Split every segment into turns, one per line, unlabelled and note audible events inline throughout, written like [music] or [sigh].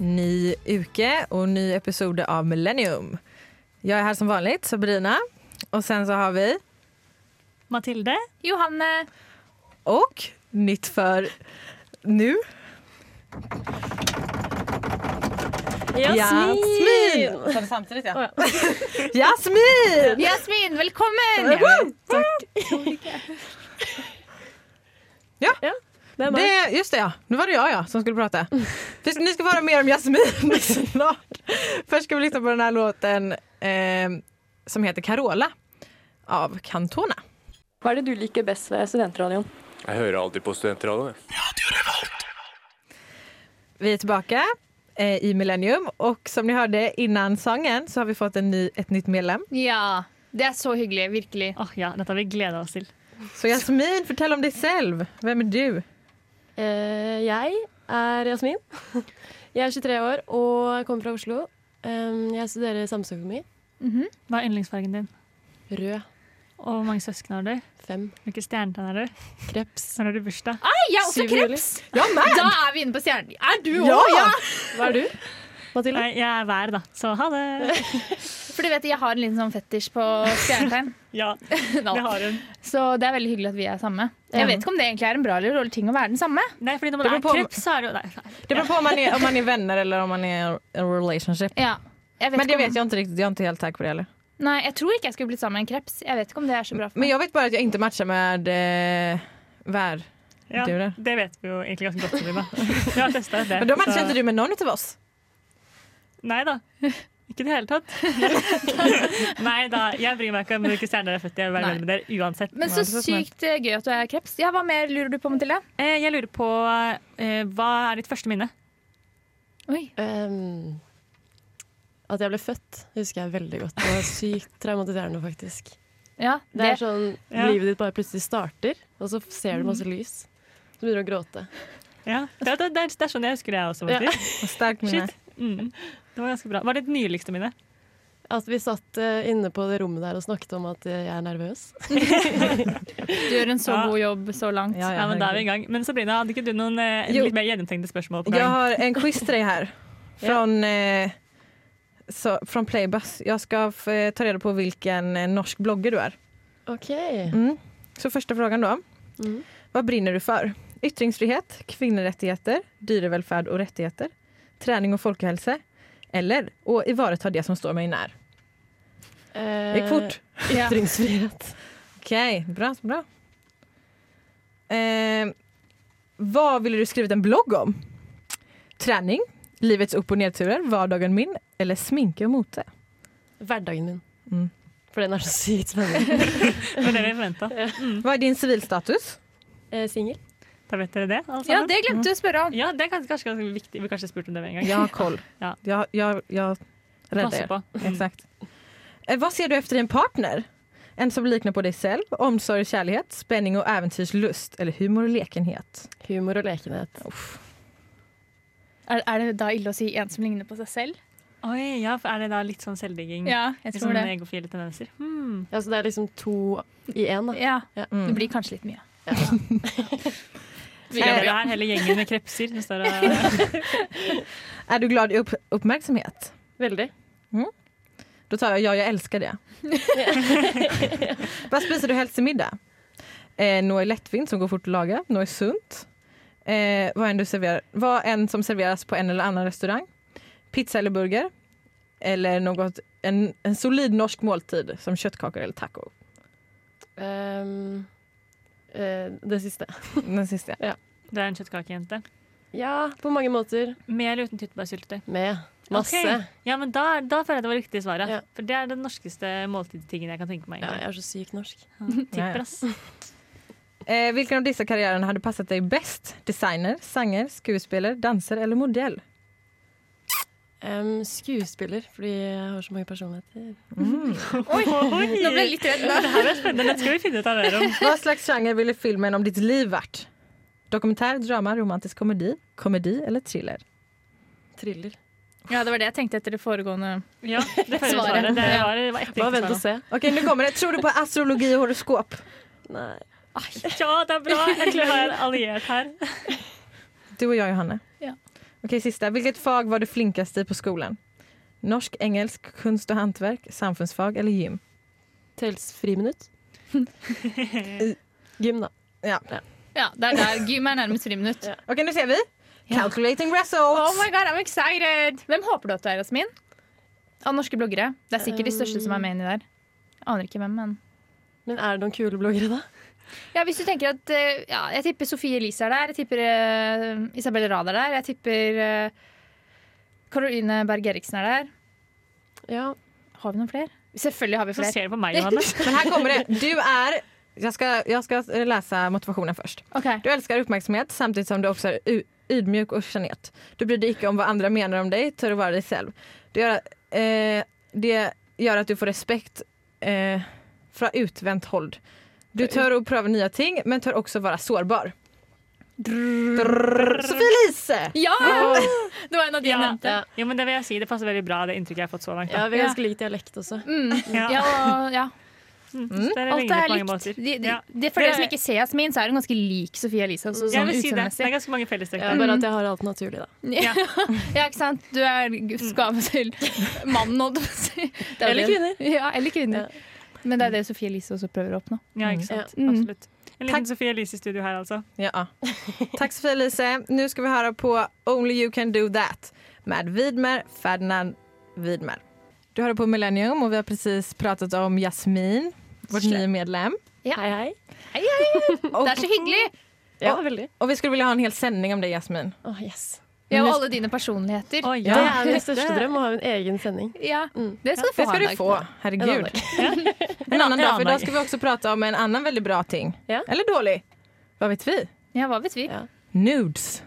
ny uke og ny episode av Millennium. Jeg er her som vanlig, Sabrina. Og sen så har vi
Mathilde.
Johanne.
Og nytt for nu. Jasmin!
Sa det samtidigt ja.
Jasmin!
Jasmin, velkommen!
Woo!
Hvem er
Det, just det ja, nu var det jag ja, som skulle prata. Vi ska- Ni ska få höra mer om Jasmin [laughs] snart. Först ska vi lyssna på den här låten eh, som heter Carola av Cantona.
Hva er det du liker best ved studentradioen?
Jeg hører alltid på studentradioen. jeg.
Vi är tillbaka eh, i Millennium och som ni hörde innan sången så har vi fått en ny, ett nytt medlem.
Ja, det er så hyggelig, virkelig.
Åh, ja, dette har vi gleda oss til.
Så Jasmin, fortell om dig själv. Vem är du?
Eh, jeg er Jasmin. [laughs] Jeg er 23 år og kommer fra Oslo. Eh, jeg studerer samfunnsøkonomi.
Hva er yndlingsfargen din?
Rød.
Og hvor mange søsken har du?
Fem.
Hvilke stjernetegn har du?
Kreps.
Når har du bursdag?
Ah,
Jeg er også
Syv
kreps!
Jag med!
Da er vi inne på stjernen. Er du òg?
Ja!
Ja!
Hva er du? Mathilde?
Nei, jeg er vær, da. Så ha det!
[laughs]
For du vet, jeg har en liten sånn fetisj på stjernetegn.
Ja,
Nå.
det har hun.
Så det er veldig hyggelig at vi er samme. Jeg vet ikke om det egentlig er en bra eller dårlig ting å være den samme.
Nei, fordi når
Det
man
beror
er
på om-
kreps, så er det jo Nei.
Det beror på om man, är, om man är vänner eller om man är i en relationship.
Ja. Jeg vet
Men det
ikke om...
vet jag inte riktigt, jag är inte helt säker på det heller.
Nei, jeg tror ikke jeg skulle blitt sammen med en kreps. Jeg vet ikke om det er så bra for
Men
meg.
jag vet bara att jag inte matchar med eh, vär.
Ja,
Du det.
det vet vi jo egentlig ganske godt. Sabrina. Vi har testa
[laughs]
det.
Men då matchar
så-
inte du med någon av oss.
Nei da. Ikke i det hele tatt. [laughs] Nei da, jeg bryr meg ikke om hvilke stjerner jeg er født i. Jeg vil være
Nei.
venn med dere uansett.
Men så
Nei, det er så snilt.
sykt eh, gøy at du er kreps. Ja, Hva mer lurer du på, Mathilde?
Eh, Jeg lurer på eh, hva er ditt første minne?
Oi.
Ehm, at jeg ble født, husker jeg veldig godt. Det var sykt traumatiserende, faktisk.
Ja,
Det er
det.
sånn
Ja.
livet ditt bare plutselig starter, og så ser du masse lys. Så begynner du å gråte.
Ja, det, er- det, er, det er sånn jeg husker det jeg også.
Ja.
faktisk.
Starkt minne.
Shit. Mm. Det var ganske bra. Hva er ditt nyligste minne?
At vi satt eh, inne på det rommet der og snakket om at eh, jeg er nervøs.
[laughs] Du gjør en så
Ja.
god jobb så langt.
Ja, ja,
Ja, men da er vi
herregud.
i gang. Men Sabrina, hadde ikke du noen eh,
Jo.
litt mer gjennomtenkte spørsmål på
Jag
gang?
har en quiz till dig här. Från, eh, så, från Playbus. Jag ska eh, ta reda på vilken eh, norsk blogger du är.
OK.
Mm. Så första frågan då.
Mm.
Vad brinner du för? Yttringsfrihet, kvinnorättigheter, dyrevälfärd och rättigheter, träning och folkhälsa eller att ivareta det som står mig när? Det gick fort.
Ja.
Eh, [laughs] Ytringsfrihet.
Eh, Okej, bra. bra. Eh, vad ville du skrivit en blogg om? Träning, livets upp och nedturer, vardagen min eller sminke och mote?
Hverdagen min.
Mm.
For den er så sykt spennende.
Det var det vi forventa.
Vad är din civilstatus?
Eh, Singel.
Da vet dere det.
Ja,
alle sammen.
det glemte du å spørre om.
ja, det er kanskje, kanskje ganske viktig. Vi kanskje spurte om det med en gang.
Jag har koll.
Ja.
Jag, jag, jag räddar
Passe
er.
på. Mm.
Exakt. Eh, vad ser du efter i en partner? En som liknar på dig själv, omsorg och kärlighet, spänning och äventyrslust eller humor och lekenhet?
Humor og lekenhet.
Er, er det da ille å si en som ligner på seg selv?
Oi, ja, for er det da litt sånn selvdigging?
Ja, jeg
Litt
tror
sånn
det.
egofile tendenser? Hmm.
Ja, så det er liksom to i én, da.
Ja,
Mm.
Det blir kanskje litt mye.
[laughs]
Så det er her hele gjengen med krepser som står og
Är du glad i upp uppmärksamhet?
Veldig.
Då tar jag ja, jag
[laughs]
älskar det. Vad spiser du helst till middag? Eh, något är lättvindt som går fort att laga, något är sunt. Eh, vad, än du serverar, vad än som serveras på en eller annan restaurang. Pizza eller burger. Eller något, en, en solid norsk måltid som köttkakor eller taco.
Ehm, eh, det siste.
Den sista.
Du er en kjøttkakejente.
Ja, på mange måter.
Med eller uten tyttebærsyltetøy?
Med masse.
Ok. Ja, men da, da føler jeg det var riktig svaret.
Ja.
For det er den norskeste måltidstingen jeg kan tenke meg.
Ja, jeg
egentlig.
er så sykt norsk.
Tipper, ass.
Eh, vilken av dessa karriärerna hade passat dig bäst? Designer, sanger, skuespiller, danser eller modell?
Ehm, skuespiller, fordi jeg har så mange personligheter.
Oi,
Nå ble jeg litt redd.
Det [laughs] her er spennende. Dette skal vi finne ut av mer om.
Vad slags genre ville filmen om ditt liv varit? Dokumentär, drama, romantisk komedi, komedi eller thriller?
Thriller.
[laughs] Ja, det var det jeg tenkte etter det foregående.
Ja, det føler jeg
Svaret.
svaret. Det var, det var
Bare vent og
se.
se.
Okej, nu kommer det. Tror du på astrologi och horoskop?
Nei.
Ja, det er bra. Jeg har en alliert her.
Du och jag, Johanne.
Ja.
Okej, sista. Vilket fag var du flinkast i på skolan? Norsk, engelsk, kunst og hantverk, samfunnsfag eller gym?
Tels friminutt. Gym, da.
Ja, det er der. Gym er nærmest friminutt.
Okej, nu ser vi. Calculating results!
Oh my god, I'm excited! Hvem håper du at du er, Jasmin? Av norske bloggere. Det er sikkert de største som er med inni der. Aner ikke hvem, men
Men er det noen kule bloggere, da?
Ja, hvis du tenker at eh, ja, Jeg tipper Sofie Elise er der. Jeg tipper eh, Isabel Rad er der. Jeg tipper eh, Caroline Berg Eriksen er der.
Ja.
Har vi noen flere? Selvfølgelig har vi
Så
flere.
ser du på meg, Johanne.
Men her kommer det. Du er Jeg skal, jeg skal lese motivasjonen først.
Ok.
Du elsker oppmerksomhet samtidig som du også er u- ydmyk og sjenert. Du bryr deg ikke om hva andre mener om deg, tør å være deg selv. Det gjør, eh, det gjør at du får respekt eh, fra utvendt hold. Du tør å prøve nye ting, men tør også være sårbar. Drrrr. Sofie Elise!
Ja! Det var en av de jeg
Ja.
nevnte.
Jo, men det vil jeg si, det passer veldig bra, det inntrykket jeg har fått så langt.
ja,
Da.
vi er ganske lik dialekt også.
Mm.
[laughs] Ja.
Ja, og- ja.
Mm. Så det
Alt
ligner
er
på mange
likt.
måter.
De, de,
Ja.
det, for dere som ikke ser Jasmin, så er hun ganske lik Sofie Elise. Også,
Jeg
sånn
vil si det. Det
utseendemessig.
er ganske mange fellestrekk.
Ja,
der.
bare at jeg har alt naturlig, da.
[laughs] Ja. ja, ikke sant? Du er
Mm.
skapet til mannen, holdt jeg på å
[laughs]
si. Det er jo
Eller
det.
kvinner.
Ja, eller kvinner. Men det er det Sofie Elise også prøver å oppnå.
Ja, ikke sant.
Mm.
Absolutt. En liten
Takk.
Sofie Elise-studio her, altså.
Ja. Tack Sofie Elise. Nu ska vi höra på Only You Can Do That med Widmer Ferdinand Widmer. Du hör på Millennium och vi har precis pratat om Jasmin, vårt nya medlem.
Hei, hei.
Och,
Det er så hyggelig!
Ja, veldig.
och vi skulle vilja ha en hel sändning om dig Jasmin.
Åh, yes.
Mm.
Ja, og alle dine personligheter.
Å,
Det
ja.
er min største drøm, å ha en egen sending.
Ja,
Mm.
det skal du få.
Det ska
en dag.
du få, herregud. [laughs] En annan dag, för idag ska vi också prata om en annan väldigt bra ting.
Ja.
Eller dålig. Vad vet vi?
Ja, hva vet vi?
Ja.
Nudes.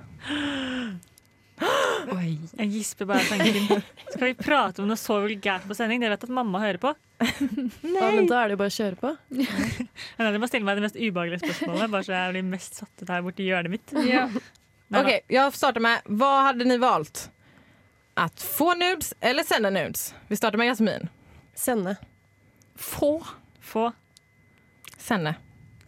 Jeg gisper bare av tanken. Skal vi prate om noe så vulgært på sending? Dere vet at mamma hører på.
Ja, men da er det jo bare å kjøre på.
Men Dere må stille meg det mest ubehagelige spørsmålet, bare så jeg blir mest satt ut her borti hjørnet mitt.
Okej, jag startar med, vad hade ni valt? Att få nudes eller sända nudes? Vi startar med Jasmin.
Sende.
Få.
Få.
Sende.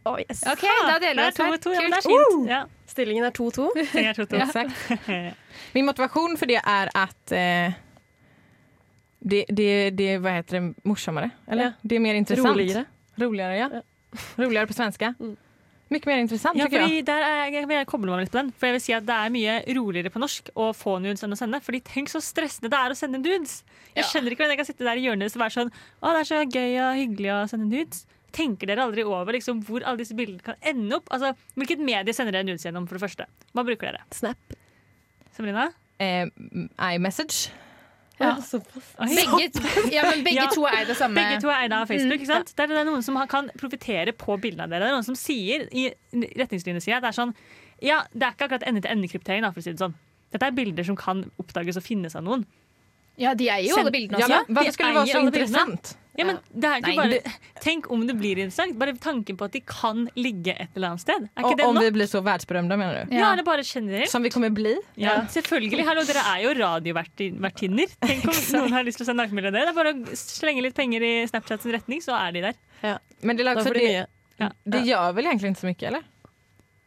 Å, yes.
OK, da deler
Det
vi oss her.
er to og to, ja, men det
Kult.
er fint. Ja,
Stillingen er 2-2.
jeg
[laughs]
er to, og to.
Exakt. Min motivation för det är att eh, det, det, det, vad heter det, morsammare? Eller?
Ja.
Det är mer intressant.
Roligere.
Roligere, ja.
Ja.
Roligere på svenska.
Mm.
Mycket mer intressant
Ja,
tycker jag.
fordi der er, jeg, jeg kobler meg litt på den. For jeg vil si at Det er mye roligere på norsk å få nudes enn å sende. Fordi tenk så stressende det er å sende nudes! Jeg skjønner ikke hvordan jeg kan sitte der i hjørnet og være sånn Å, det er så gøy og hyggelig å sende nudes. Tenker dere aldri over liksom, hvor alle disse bildene kan ende opp? Altså, Hvilket medie sender dere nudes gjennom, for det første? Hva bruker dere?
Snap.
Sabrina?
Eh, iMessage.
Ja.
såpass.
Oi.
Begge, ja, men begge
Ja.
to er det samme.
Begge to er eid av Facebook. ikke sant? Der er det noen som har- kan profitere på bildene av dere. Det er noen som sier i retningslinjene sine at det er sånn Ja, det er ikke akkurat ende-til-ende-kryptering, da, for å si det sånn. Dette er bilder som kan oppdages og finnes av noen.
Ja, de eier jo alle bildene
Ja,
også.
men, varför
Det
skulle det
är
vara
ju
så
alla bilderna.
intressant?
Ja, men det er ikke
Nei,
bare, Tenk om det blir interessant. Bare tanken på at de kan ligge et eller annet sted. Er ikke
Om,
det
om
nok?
vi blir så världsberömda menar du?
Ja, eller bare generelt.
Som vi kommer bli.
Ja, selvfølgelig. Hallo, dere er jo radiovertinner. Tenk om noen har lyst til å sende nakenbilde av dere. Det er bare å slenge litt penger i Snapchats retning, så er de der.
Men det, är
Da
också,
får de mye.
det, det gör väl egentligen inte så mycket eller?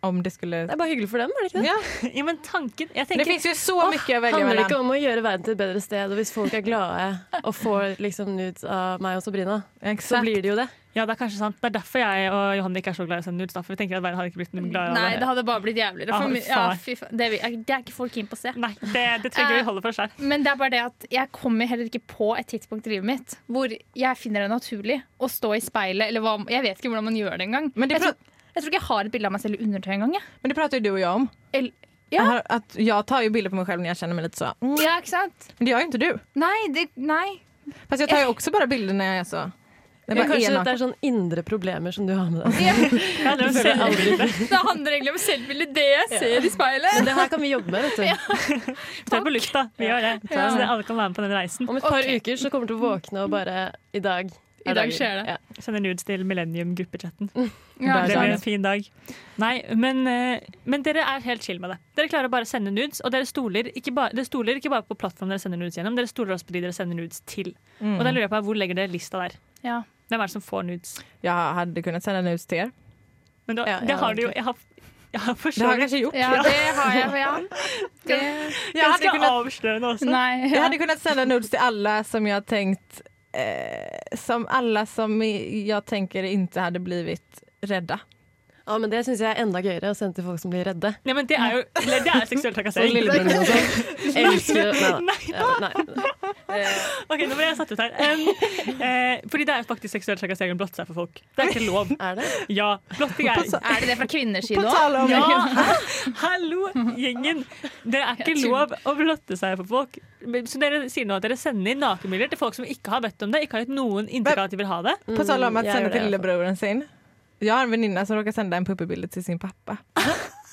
Om det skulle...
Det er bare hyggelig for dem, er det ikke det?
Ja.
Ja, men tanken
Det
Jeg tenker
finns ju så mycket att välja
Handler det ikke
mellan.
om å gjøre verden til et bedre sted, og hvis folk er glade og får liksom nudes av meg og Sabrina, så
Exakt.
blir det jo det.
Ja, det er kanskje sant. Det er derfor jeg og Johanne ikke er så glad i å sende nudes. Da, for vi tenker at verden hadde ikke blitt noe glad i
Nei, det
det.
hadde bare blitt jævligere.
Ah,
For mye-
faen.
ja, fy faen. Det, vil- det er ikke folk keen på å se.
Nei, det, det tenker vi holder for oss selv.
Men det er bare det at jeg kommer heller ikke på et tidspunkt i livet mitt hvor jeg finner det naturlig å stå i speilet. Eller hva, jeg vet ikke hvordan man gjør det engang.
Men det
Jeg, tror- jeg tror ikke jeg har et bilde av meg selv i undertøy engang. jeg.
Men det pratar ju du och jag om.
Eller-
Jag,
Ja.
har- att jag tar ju bilder på mig själv när jag känner mig lite så. Mm.
Ja, ikke sant?
Men det gör ju inte du.
Nei, det, nei.
Fast jag tar ju også altså. bara bilder när jag är så. När
Men
jag bara
kanskje
är
dette
naken.
er sånn indre problemer som du har med deg.
Jeg hadde jo selv-
[laughs] Det handler egentlig om selvbildet, det jeg ser i speilet.
Men det her kan vi jobbe med, vet du.
Vi tar det på lufta. Vi gjør det. Så alle kan være med på den reisen.
Om et par
Ok.
uker så kommer du til å våkne og bare I dag. er
I dag
dagen.
skjer det.
Ja.
Sender nudes til Millennium-gruppechatten.
Ja,
Det
sant.
blir en fin dag. Nei, men, eh, men dere er helt chill med det. Dere klarer å bare sende nudes, og dere stoler ikke bare, dere stoler ikke bare på plattformen dere sender nudes gjennom, dere stoler også på de dere sender nudes til. Og
Mm.
da lurer jeg på hvor legger dere lista der?
Ja.
Hvem er det som får nudes?
Jag hade kunnat sända nudes till er.
Men da,
Ja,
det
ja,
har du jo jeg har, Ja, for
Det
så
har jeg
vidt.
kanskje gjort.
Ja, det har jeg. [laughs] Ja. Det,
Jeg hadde,
Ganske
kunnat,
avslørende også.
Nei.
jeg
Ja.
hadde kunnat sända nudes til alle som jeg har tenkt eh, Som alle som i- jeg tenker ikke hadde blitt redda.
Ja, men det syns jeg er enda gøyere å sende til folk som
[laughs]
blir redde.
Nei, men det er jo eller, det er seksuell
Sånn
trakassering.
lillebroren min og sånn. Elsker Nei da.
Nei,
Ja, nei.
[laughs] OK, nå ble jeg satt ut her. Um, eh, fordi det er faktisk seksuell trakassering å blotte seg for folk. Det [laughs] er ikke lov.
Er det?
Ja, blotting er
er det det fra kvinners side
På
òg?
tal om
Ja! Hallo, gjengen! Det er ikke lov å blotte seg for folk. Så dere sier nå at dere sender inn nakenbilder til folk som ikke har bedt om det? Ikke har gitt noen inntrykk av at de vil ha det?
På tal om
Mm,
att
jeg
sända
gjør det,
till lillebroren sin. Jag har en väninna som råkar sända en puppbild till sin pappa.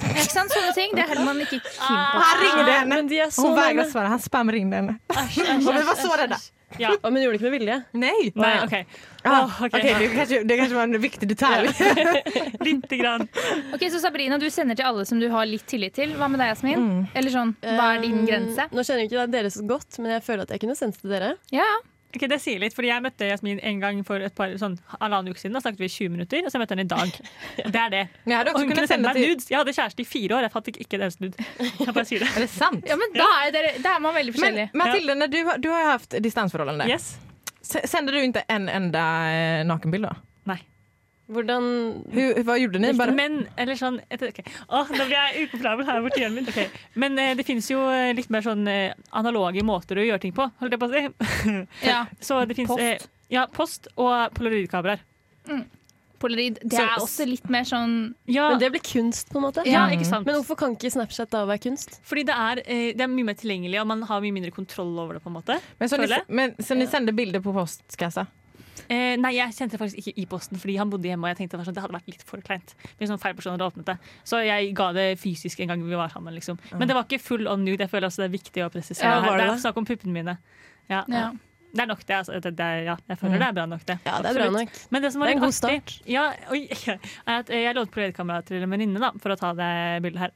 Ikke sant? Sånne ting. Det holder man ikke kim på.
Ah, Han ringde henne.
Men de er så
Hon vägrade
nærme.
svara. Han spamringde henne. Och vi var så rädda.
Ja.
Å, men gjorde det ikke med vilje?
Nej!
Nei, OK.
Ah,
Åh, ok.
Okej, det, kanske, det kanske var en viktig detalj.
Lite grann.
Ok, Så Sabrina, du sender til alle som du har litt tillit til. Hva med deg, Jasmin? Eller sånn, Hva er din
Um,
grense?
Nå kjenner jeg ikke det er dere så godt, men jeg føler at jeg kunne sendt det til dere.
Ja,
Ok, det sier litt, fordi Jeg møtte Jasmin en gang for et par, sånn, halvannen uke siden. Da snakket vi i 20 minutter, og så møtte jeg henne i [laughs] dag. Det er det.
Men [laughs] jag hade
Og
också
hun kunne
kunnat
sende
sända
meg
till...
nudes. Jeg hadde kjæreste i fire år, jeg fant ikke en eneste nude. Jeg bare sier det.
Är det sant?
ja men da er, dere, da er man veldig
Men
forskjellig.
Matilda, när du, har- du har ju haft distansförhållande.
Yes.
S- Sände du inte en enda eh, nakenbild då?
Nei.
Hvordan
Hur, vad gjorde ni? Bara,
Men, eller sånn et, ok. Åh, Nå blir jeg ukomfortabel her borti hjelmen. Ok. Men eh, det finnes jo eh, litt mer sånn eh, analoge måter å gjøre ting på, holdt jeg på å si.
Ja,
Så det finnes,
Post.
Eh, ja, post og polaroidkameraer.
Polaroid. Det
Så-
er også litt mer sånn
Ja,
Men det blir kunst, på en måte.
ja, ikke sant.
Men hvorfor kan ikke Snapchat da være kunst?
Fordi det er, eh, det er mye mer tilgjengelig, og man har mye mindre kontroll over det. på en måte.
men så ni,
Føler.
men, så ni sände bilder på
[laughs]
postkassa?
Eh, nei, jeg kjente det faktisk ikke i posten, fordi han bodde hjemme. og jeg tenkte det, var sånn, det hadde vært litt for kleint. Hvis noen feil person hadde åpnet det. Så jeg ga det fysisk en gang vi var sammen. liksom. Men det var ikke full on nude. Jeg føler også det er viktig å presisere.
Ja, var
her.
det
Det er
det?
snakk om puppene mine. Ja.
ja.
Det er nok det. Altså. det, det er, ja, jeg føler det er bra nok, det.
Mm. Ja, det er bra
Absolutt.
nok.
Men det som var
Det er en
litt
god
artig, ja, oi, [laughs] er at eh, jeg lånte polaroidkameraet til en venninne da, for å ta det bildet her.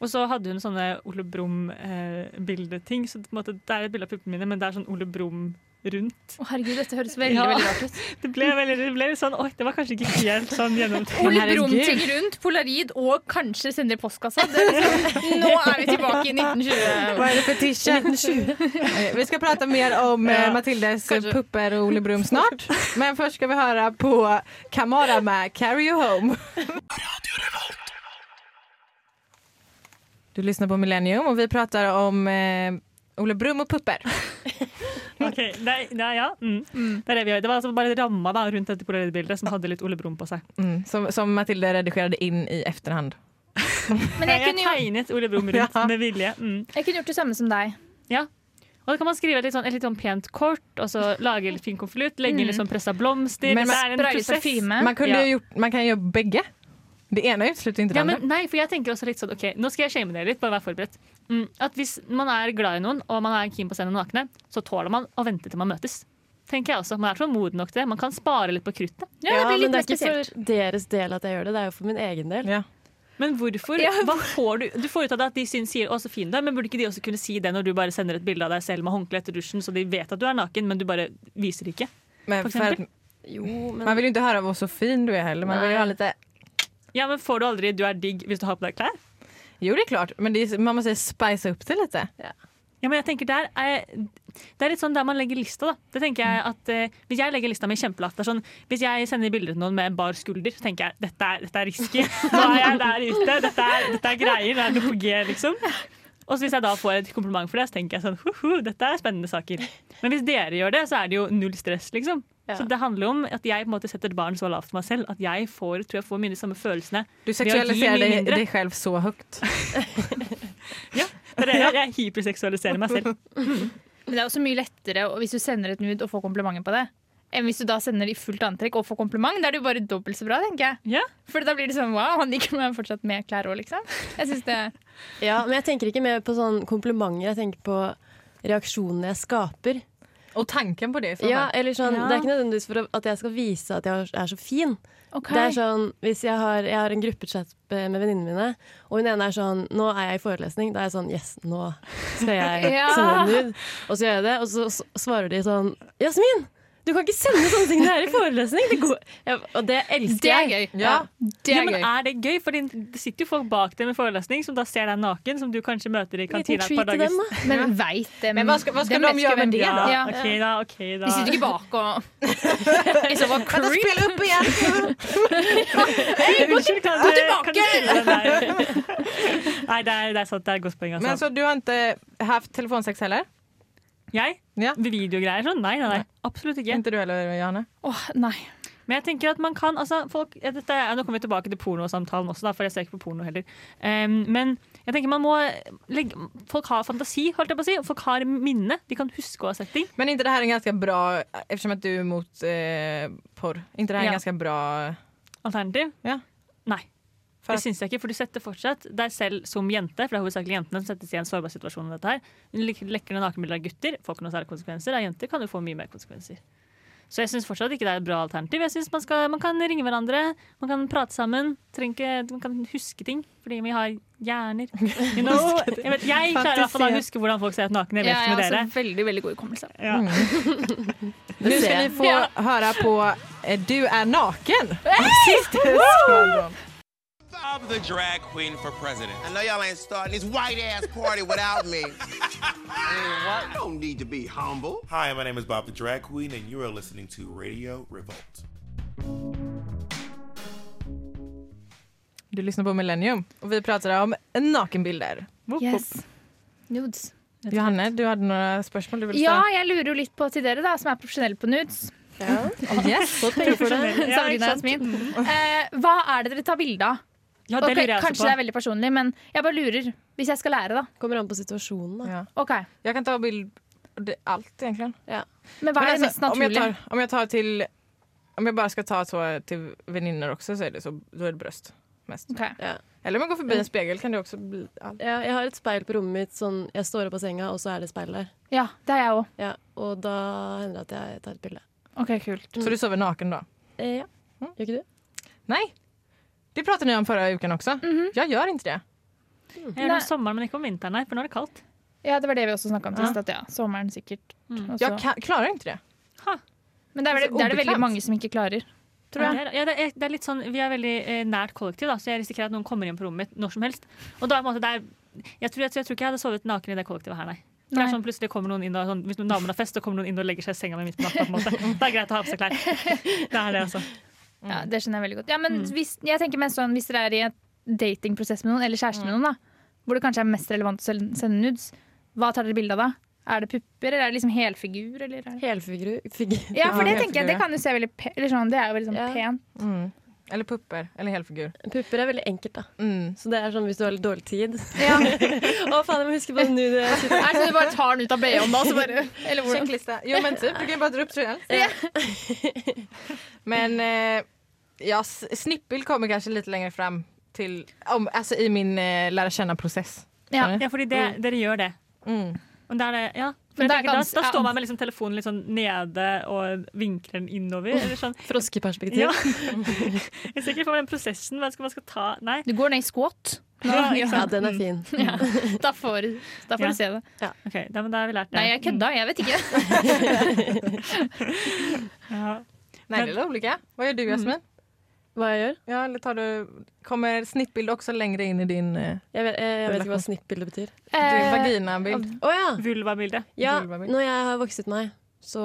Og så hadde hun sånne Ole Brumm-bildeting. så på en måte, det er et bilde av puppene mine, men det er sånn Ole Brumm rundt.
Å, herregud, dette høres veldig
Ja.
veldig rart ut.
Det ble, veldig, det ble litt sånn Oi, det var kanskje ikke helt sånn gjennomtenkt.
Ole Brumm til rundt, polarid og kanskje sender i postkassa. Det er liksom, [laughs] nå er vi tilbake i 1920.
Vad är det för
[laughs]
t-shirt? Eh, Vi ska prata mer om ja.
Ja.
Matildas
Kanske.
pupper och Ole Brumm snart. Men först ska vi höra på Kamara med Carry You Home. Du lyssnar på Millennium och vi pratar om eh, Ole Brumm och pupper.
Ok, nei, nei, ja. Mm. Det er det vi gjør. Det var altså bare ramma da, rundt dette polaroidbildet som hadde litt Ole Brumm på seg.
Mm, som, som Matilda redigerade in i efterhand.
Men jeg
Jeg
kunne, jo,
tegnet Ole Brumm rundt
Ja.
med vilje. Mm.
jeg kunne gjort det samme som deg.
Og da kan man skrive et litt sånn, et litt sånn pent kort, og så lage litt fin konvolutt, legge inn litt sånn pressa blomster.
Men
det
man
er en
Spraye litt
prosess.
Mm. parfyme.
Man, kunde
Ja.
ju gjort, man kan göra bägge. Det ena utesluter inte det
Ja,
andra.
men, nei, for jeg tenker også litt sånn, ok, nå skal jeg shame dere litt, bare vær forberedt. Mm, at hvis man er glad i noen, og man er keen på å sende nakne, så tåler man å vente til man møtes. Tenker jeg også. Man er så moden nok til det. Man kan spare litt på kruttet.
Ja, det blir litt
men det
mer
er ikke
spesielt.
for deres del at jeg gjør det, det er jo for min egen del.
Ja.
Men hvorfor? Hva får du? du får ut av det at de syns sier 'å, så fin du er', men burde ikke de også kunne si det når du bare sender et bilde av deg selv med håndkle etter dusjen, så de vet at du er naken, men du bare viser det ikke?
Men
For
för att,
eksempel?
Jo, men
Mm. man vill ju inte höra vad så fin du är heller. Man vill ju
Nej.
ha lite
Ja, men får du aldri 'du er digg' hvis du har på deg klær?
Jo, det är klart. Men det är, man måste spicea upp det lite.
Ja, men jeg tenker der er, Det er litt sånn der man legger lista, da. Det tenker jeg at eh, Hvis jeg legger lista mi kjempelavt det er sånn, Hvis jeg sender bilder til noen med bar skulder, så tenker jeg dette er, dette er risky. Nå er jeg der ute. Dette er, dette er greier. Det er noe på G, liksom. Og så hvis jeg da får et kompliment for det, så tenker jeg sånn hoho, dette er spennende saker. Men hvis dere gjør det, så er det jo null stress, liksom.
Ja.
Så det handler om at jeg på en måte setter barn så lavt for meg selv at jeg får, tror jeg får mye de samme følelsene.
Du
Men jag
sexualiserar
gillar
dig,
mindre.
dig själv så högt.
Det er det jeg, jeg hyperseksualiserer meg selv.
Men det er også mye lettere å- hvis du sender et nude og får komplimenter på det, enn hvis du da sender det i fullt antrekk og får kompliment. Da er det jo bare dobbelt så bra, tenker jeg.
Ja.
For da blir det sånn wow, han liker meg fortsatt med klær òg, liksom. Jeg synes det
Ja, men jeg tenker ikke mer på sånn komplimenter, jeg tenker på reaksjonene jeg skaper.
Och tanken på det. För
Ja, eller sånn,
Ja.
Det er ikke nødvendigvis for at jeg skal vise at jeg er så fin.
Ok.
Det er sånn, hvis jeg har, jeg har en gruppechat med venninnene mine, og hun ene er sånn 'Nå er jeg i forelesning.' Da er jeg sånn 'Yes, nå skal jeg
Ja.
sende en nude.' Og så gjør jeg det, og så s- svarer de sånn 'Jasmin, Du kan ikke sende sånne ting der i forelesning! Det går. Ja, og det elsker
Det er
jeg.
gøy.
Ja.
Det
ja,
er
men
gøy.
er det gøy? For det sitter jo folk bak dem i forelesning som da ser deg naken, som du kanskje møter i
Liten
kantina et
treat
par
til
dager.
dem, da.
Men veit dem
Men hva skal, hva skal
dem
de
vet ikke
gjøre med
hvem
det, da?
Ja.
OK, da. ok da.
De sitter ikke bak [laughs] og I så fall
Vänta,
creep.
spela upp igen! [laughs]
Unnskyld, kan du, kan du stille den der? [laughs] Nei, det er, det er sant. Det er et godt poeng.
Men
Altså.
så du har inte haft telefonsex heller?
Jeg?
Ja.
Videogreier sånn? Nei, nei, nei. Absolutt ikke.
Inte du heller, Johanna?
Åh, nei.
Men jeg tenker at man kan altså, folk, ja, dette, er- Nå kommer vi tilbake til pornosamtalen også, da, for jeg ser ikke på porno heller. Em, men jeg tenker man må legge, folk har fantasi, holdt jeg på å si. og Folk har minne. De kan huske å ha sett ting.
Men inte det här är en ganska bra, eftersom att du är emot eh, porr, inte det här är en
Ja.
ganska bra...
Alternativ?
Ja.
Nei.
For
det
at-
syns jeg ikke, for du setter fortsatt deg selv som jente, for det er hovedsakelig jentene som settes i en sårbar situasjon. med dette her. Men lek- Lekker det nakenbilder av gutter, får ikke noen særlige konsekvenser. Av jenter kan du få mye mer konsekvenser. Så jeg syns fortsatt ikke det er et bra alternativ. Jeg synes man, skal, man kan ringe hverandre, man kan prate sammen. trenger Ikke, man kan huske ting, fordi vi har
[laughs]
hjerner. You know? jeg, vet, jeg klarer i hvert fall å huske hvordan folk ser ut nakne. Jeg vet
Ja,
ikke
jeg
med
har
dere.
også veldig veldig god hukommelse.
Ja.
Nu ska ni få
Ja.
höra på eh, Du är naken! Hey!
Bob the drag queen for president. I know y'all ain't starting this white ass party
[laughs]
without me.
I don't need to be humble.
Hi, my name is Bob the Drag Queen, and you are listening to Radio Revolt.
Du lyssnar på Millennium och vi pratar om nakenbilder.
Woop, woop.
Yes. Nudes.
Johanne, du hade några spörsmål du ville
Ja, jeg lurer jo litt på til dere da, som er profesjonelle på nudes.
ställa? Yes!
Fått penger for det.
Ja, ikke
Sabrina og
sant?
Jasmin. Eh, hva er det dere tar bilde av?
Ja, det
Ok,
lurer jeg
kanskje
også
det
på.
er veldig personlig, men jeg bare lurer. Hvis jeg skal lære, da.
Kommer an på situasjonen, da.
Ja.
Ok,
Jag kan ta bild det, allt egentligen.
Men hva
Men
er det mest
alltså, om, jag
naturlige?
tar, om jag tar till... Om jag bara ska ta så till vänner också så är det, så, då är det bröst mest.
Ok.
Eller om jag går förbi
Mm.
en spegel kan det också bli allt.
Ja, jeg har et speil på rommet mitt. Sånn, jeg står opp av senga, og så er det speil der.
Ja, det er jeg òg.
Ja, og da hender det at jeg tar et bilde.
Ok, kult.
Så du sover naken då?
Eh, ja.
Mm.
Gjør ikke du?
Nej! Det pratade ni om förra veckan också.
Mhm.
Jag gör inte det.
Jeg gjør det om sommeren, men ikke om vinteren, nei, for nå er det kaldt.
Ja, det var det vi også snakka om
Ja.
sist. At ja, sommeren sikkert.
Mm.
også.
Jag kan, klarar inte det.
Men det er,
det er
vel,
så
det er det veldig
ubekvemt.
mange som ikke klarer. Tror
Ja,
jeg.
det er, ja, det er, det er litt sånn, Vi er veldig eh, nært kollektiv, da, så jeg risikerer at noen kommer inn på rommet mitt når som helst. Og da er på en måte, det er, jeg, tror, jeg, tror- jeg tror ikke jeg hadde sovet naken i det kollektivet her, nei. For Det er
Nei.
sånn, plutselig kommer noen inn og, sånn, Hvis noen damer har fest, så kommer noen inn og legger seg i senga mi midt på natta. på en måte. Det er greit å ha på seg klær. Det er det, altså.
Ja, det skjønner jeg veldig godt. Ja, men
Mm.
hvis, jeg tenker mest sånn, hvis dere er i en datingprosess med noen, eller kjæreste
Mm.
med noen, da, hvor det kanskje er mest relevant å sel- sende nudes, hva tar dere bilde av da? Er det pupper, eller er det liksom helfigur? Eller er det...
Helfigur. figur- [laughs]
Ja, for det
Ja,
tenker jeg, det kan jo se veldig pe eller sånn, det er jo veldig sånn
Ja.
pent.
Mm. Eller pupper, eller helfigur.
Pupper er veldig enkelt, da.
Mm.
Så det er sånn hvis du har litt dårlig tid.
Ja.
[laughs] Å, faen, jeg må huske på den nude.
Nei, så du bare tar den ut av BH-en da, så bare Eller hvordan?
Checklista. Jo men typ, du kan ju bara dra upp tröjan. men eh, ja, s- snippel kommer kanske lite längre fram till, om, alltså i min eh, lära känna-process.
Ja,
Förstår ni?
Ja, fordi det, dere gjør det.
Mm.
Og det er det, ja. For
Men
jeg
det er
tenker, da,
gans-
da
ja.
står man med liksom telefonen litt sånn nede og vinkler den innover. Eller sånn.
Froskeperspektiv.
Ja. Jeg ser ikke for meg den prosessen. Hva skal man skal ta Nei.
Du går ned i squat.
Ja, ikke
Ja,
sant?
den er fin.
Da får, du- da
Ja.
får du se det.
Ok, da, men da har vi lært det.
Nei, jeg kødda. Jeg
[laughs]
vet ikke.
Nej
Ja. Men-
det är olika. Vad gör du Jasmin?
Hva jeg gjør?
Ja, eller tar du, kommer snittbild også lengre inn i din eh,
Jeg vet, jeg, jeg vet ikke hva snippbilde betyr.
din
Eh,
vaginabild?
Å ja.
Vulvabildet.
ja!
Vulvabild.
Når jeg har vokset meg, så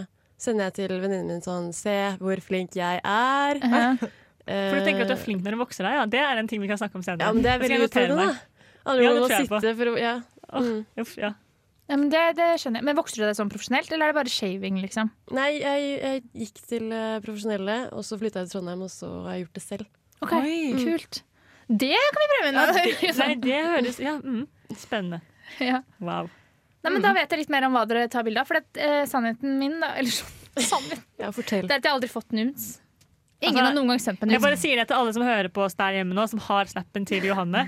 eh, sender jeg til venninnen min sånn Se hvor flink jeg er.
eh,
For du tenker at du er flink når du vokser deg, ja. Det er en ting vi kan snakke om senere.
Eh, Ja, men det
Jeg
er
skal
veldig
notere
utfordrende,
meg.
da. Andre
Ja,
må
det tror jeg på.
sitte for å Ja. Mm.
Uff, ja.
ja, men det, det skjønner jeg. Men vokser du deg sånn profesjonelt, eller er det bare shaving, liksom?
Nei, jeg, jeg gikk til eh, profesjonelle, og så flytta jeg til Trondheim, og så har jeg gjort det selv.
Ok,
Oi.
Kult. Det kan vi prøve en
[laughs] Nei,
dag.
det høres ja, mm. Spennende.
Ja.
Wow.
Nei, men Da vet jeg litt mer om hva dere tar bilde av. For det, eh, sannheten min da, eller sånn, [laughs] sannheten,
Ja, fortell.
det er at jeg har aldri fått nudes. Ingen
Altså,
har noen gang sendt meg
Jeg
nudes.
bare sier det til alle som hører på oss der hjemme nå, som har snappen til Johanne.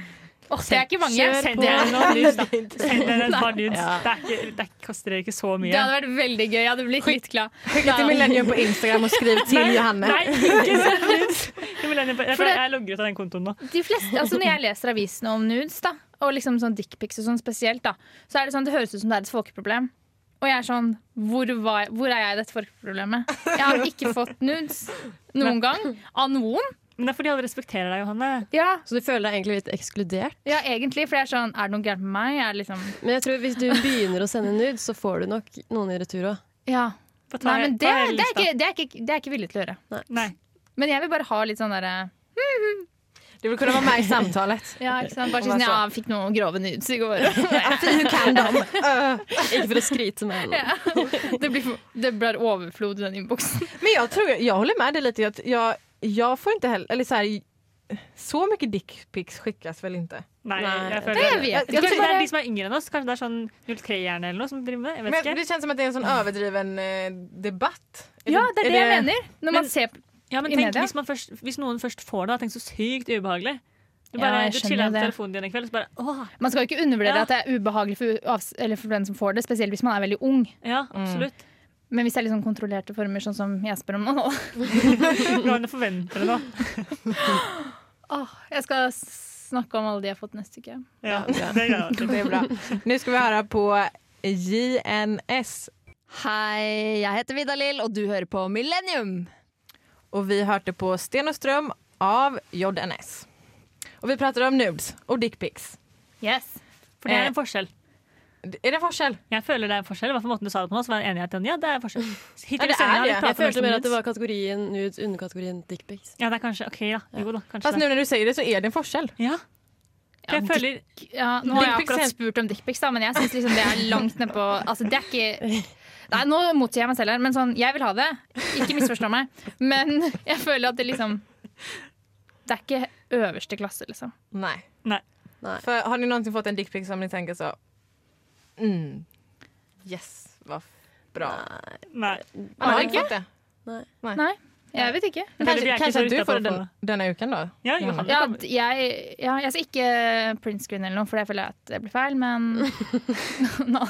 Åh, det er ikke mange.
Send dere noen nudes, da. Send dere et par nudes. Det, er ikke, det koster dere ikke så
Det
mye.
hadde vært veldig gøy. Jeg hadde blitt litt glad.
Skicka till Millennium på Instagram og skriv [laughs] til Johanne.
[laughs]
Nei, ikke send nudes! Jeg, vil- jeg, jeg, jeg logger ut av den kontoen nå.
De fleste, altså Når jeg leser avisene om nudes, da og liksom sånn dickpics og sånn spesielt, da så er det sånn det høres ut som det er et folkeproblem. Og jeg er sånn Hvor, var, jeg- hvor er jeg i dette forproblemet? Jeg har ikke fått nudes noen gang. Av noen.
Men det er fordi alle respekterer deg, Johanne.
Ja,
Så du føler deg egentlig litt ekskludert.
ja egentlig. For jeg er sånn Er det noe gærent med meg? Jeg er liksom
Men jeg tror hvis du begynner å sende nudes, så får du nok noen i retur òg.
Ja.
Få ta-
Nei, men det,
ta hele
det, er
lista.
ikke, det, er ikke, det er ikke villig til å gjøre.
Nei.
Men jeg vil bare ha litt sånn derre
Det vill kunna vara med i [laughs] samtalet.
ja, ikke sant? Bare
Om
si sånn
jeg så-
Ja, jeg fikk noen grove nudes i går. [laughs] Ja, fy,
Hur kan de? Eh,
Ikke for å skryte, men
det, blir, for- det blir overflod i den innboksen.
Men jag tror, jag håller med dig lite. Att jag, jag får inte heller, eller så här, så mycket dickpics skickas väl inte?
Nei,
Nei,
jeg føler
Det
det.
jeg vet.
Jeg
Jeg
tror
Kanskje
tror
det er
bare,
de som er yngre enn oss. Kanskje det er sånn 03-hjerne eller noe som driver med det. Jeg vet
Men
ikke.
det känns som att det är en sånn överdriven eh, debatt. Är
ja, det er det jeg
är
mener. Når man
Men-
ser på
Ja, men
i
tenk
media.
hvis, man først, hvis noen først får det, tenk så sykt ubehagelig. Du
Ja,
bare
jeg
du
skjønner
chiller på
det.
telefonen din en kveld, og så bare åh,
Man skal ikke undervurdere
Ja.
at det er ubehagelig for, avs- eller for den som får det, spesielt hvis man er veldig ung.
ja, [laughs] absolutt.
Men hvis det er litt sånn kontrollerte former, sånn som jeg spør om nå [laughs]
Hvordan forventer det nå?
Åh, Jeg skal snakke om alle de jeg har fått neste uke.
Ja, det er greit.
[laughs] Det är bra. Nu ska vi höra på JNS
Hei, jeg heter Vidalil, og du hører på Millennium.
och vi hörde på Sten och Ström av JNS. Och vi pratade om nudes och dickpics.
Yes.
For det er en forskjell.
Är det forskjell?
Jeg føler det er en forskjell. I hvert fall måten du sa det på nå, så var jeg enig i at ja, det er en forskjell.
Ja,
Hittil
det
i sendingen har
er
vi
det.
pratet
jeg følte
mest om
mer at det
nudes.
var kategorien nudes underkategorien dickpics.
Ja, det er kanskje OK, da. Jo da, kanskje
Fast nu när du säger det så är det en forskjell.
det. Ja. For jeg føler
Ja, nå har jeg
Dickpics er-
akkurat spurt om dickpics, da, men jeg syns liksom det er langt nedpå altså, Det er ikke Nei, nå motsier jeg meg selv her, men sånn, jeg vil ha det. Ikke misforstå meg. Men jeg føler at det liksom Det er ikke øverste klasse, liksom.
Nej.
Nei.
Nej.
För har ni någonsin fått en dickpic som ni tänker så mm, yes, vad bra.
Nei.
Man har inte fått det.
Nei, jeg vet ikke.
Jeg føler vi
Kanske,
er ikke
kanske
så
att du
ute
får
for å få
den, denna uken då?
Ja,
Johanna.
Johanne
Ja,
kommer.
d- jeg, ja, jeg skal ikke printscreen eller noe, for jeg føler at det blir feil,
[laughs]
men nå.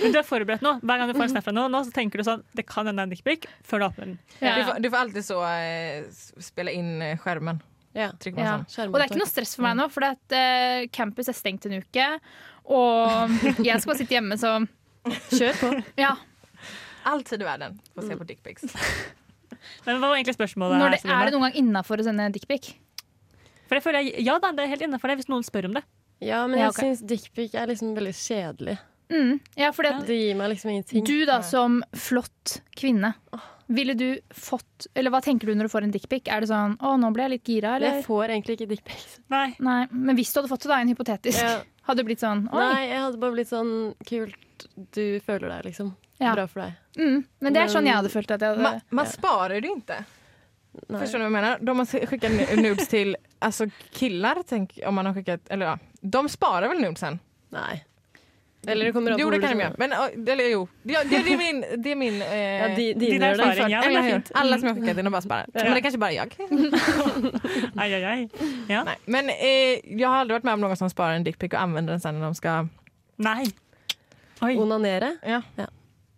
Men du er forberedt nå. Hver gang [laughs] du får en snap fra noen nå, så tenker du sånn Det kan hende det er en dickpic før du åpner den.
Ja.
Du, får, du får alltid så eh, s- spela in eh, skärmen.
Ja.
Tryck på en
Ja.
sån.
Og det er ikke noe stress for meg nå, for at, eh, campus er stengt en uke. Og jeg skal bare sitte hjemme, så
Kjør på.
ja.
Alltid i världen får
Mm.
se på dickpics.
Men hva var egentlig spørsmålet? her,
Når det,
Selina?
er det noen gang innafor å sende dickpic?
For jeg føler jeg, Ja da, det er helt innafor det hvis noen spør om det.
Ja, men
Ja,
jeg
ok.
syns dickpic er liksom veldig kjedelig.
Mm. Ja, fordi at
Det gir meg liksom ingenting.
du da som flott kvinne, ville du fått Eller hva tenker du når du får en dickpic? Er det sånn 'Å, nå ble jeg litt gira',
Men jeg
eller?
får egentlig ikke dickpics.
Nei.
Nei, men hvis du hadde fått det, da, en hypotetisk,
Ja.
hadde det blitt sånn 'Oi'.
Nei, jeg hadde bare blitt sånn kult Du føler deg, liksom.
Ja.
Bra for deg.
Mm. Men det er sånn jeg hadde følt at jeg
Man,
hadde
man sparar ju inte.
Nei.
Förstår ni vad jag menar? De har s- skickat nu- nudes till alltså killar, tänk, om man har skickat, eller ja, de sparar väl nudesen?
Nei. Eller det kommer an på
Jo,
hvor
det
du
kan de göra.
kjenner.
Men, eh, eller jo, det, det, det är min... Det är min eh,
Ja, di, dine
Din
gjør det.
erfaring,
eller
ja. men det er
hur?
fint.
Alla som jag
Mm.
skickat till, de bara sparar. Men det kanske bara är jag.
[laughs]
Ai, ai, ai. Ja.
Nej. Men eh, jag har aldrig varit med om någon som sparar en dickpic och använder den sen när de ska...
Nei. Oi,
Onanere.
Ja.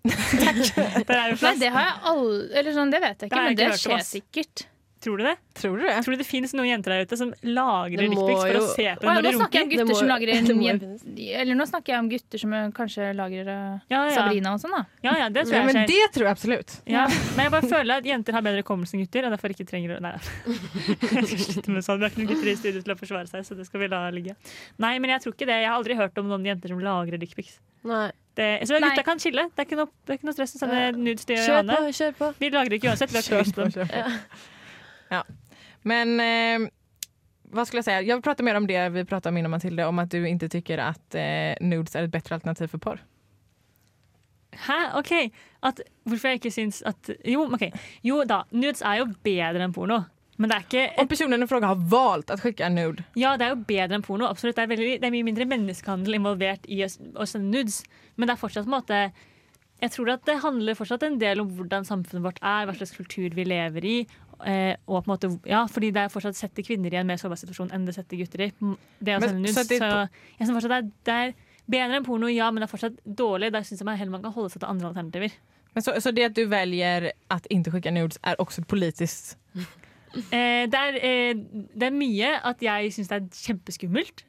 der er jo
Nei,
plass.
det har jeg aldri Eller sånn, det vet jeg
Det
ikke,
har jeg
men
ikke
det
hørt om,
skjer
ass.
sikkert.
Tror du det?
Tror du det?
Tror du det finnes noen jenter der ute som lagrer
Det må
dickpics for å
jo-
se på dem
Å, ja,
når
nå
de
snakker jeg
runker?
om
Det
gutter
må-
som lagrer
[laughs]
en
det må jo
jen- Eller nå snakker jeg om gutter som eh, kanskje lagrer eh,
Ja, ja.
Sabrina og sånn, da.
Ja, ja, det tror
Ja,
jeg
men
skjer.
det tror jag absolut.
Ja. Men jeg bare føler at jenter har bedre hukommelse enn gutter, og derfor ikke trenger å Nei. [laughs] Jeg skal slutte med sånn. Vi har ikke noen gutter i studio til å forsvare seg, så det skal vi la ligge. Nei, men jeg tror ikke det. Jeg har aldri hørt om noen jenter som lagrer dickpics.
Nei.
Det- Jeg tror
Nei.
gutta kan chille. Det er ikke noe, det er ikke noe stress å sende nudes til
Kjør på,
Johanne.
kjør på.
Vi lagrer ikke uansett. Vi har ikke lyst på dem.
Men eh, vad skulle jag säga? Jag pratar mer om det vi pratade om innan Matilda, om att du inte tycker att eh, nudes är ett bättre alternativ för porr.
Hæ? OK. At, hvorfor jeg ikke syns at Jo, OK. Jo da, nudes er jo bedre enn porno. Men det er ikke
Om personen i fråga har valt att skicka en nude.
Ja, det er jo bedre enn porno. absolutt. Det er, veldig, det er mye mindre menneskehandel involvert i å s- å sende nudes. Men det er fortsatt på en måte Jeg tror at det handler fortsatt en del om hvordan samfunnet vårt er, hva slags kultur vi lever i. Eh, og på en måte, ja, fordi det er fortsatt setter kvinner i en mer sårbar situasjon enn det setter gutter i. Det å
Men
sende nudes.
så
Så
det-
jeg synes fortsatt det er, det er bedre enn porno, ja, men det er fortsatt dårlig. Der syns jeg man heller man kan holde seg til andre alternativer.
Men så, så det att du väljer att inte skicka nudes är också ett politiskt...
Eh, det, er, eh, det er mye at jeg syns det er kjempeskummelt,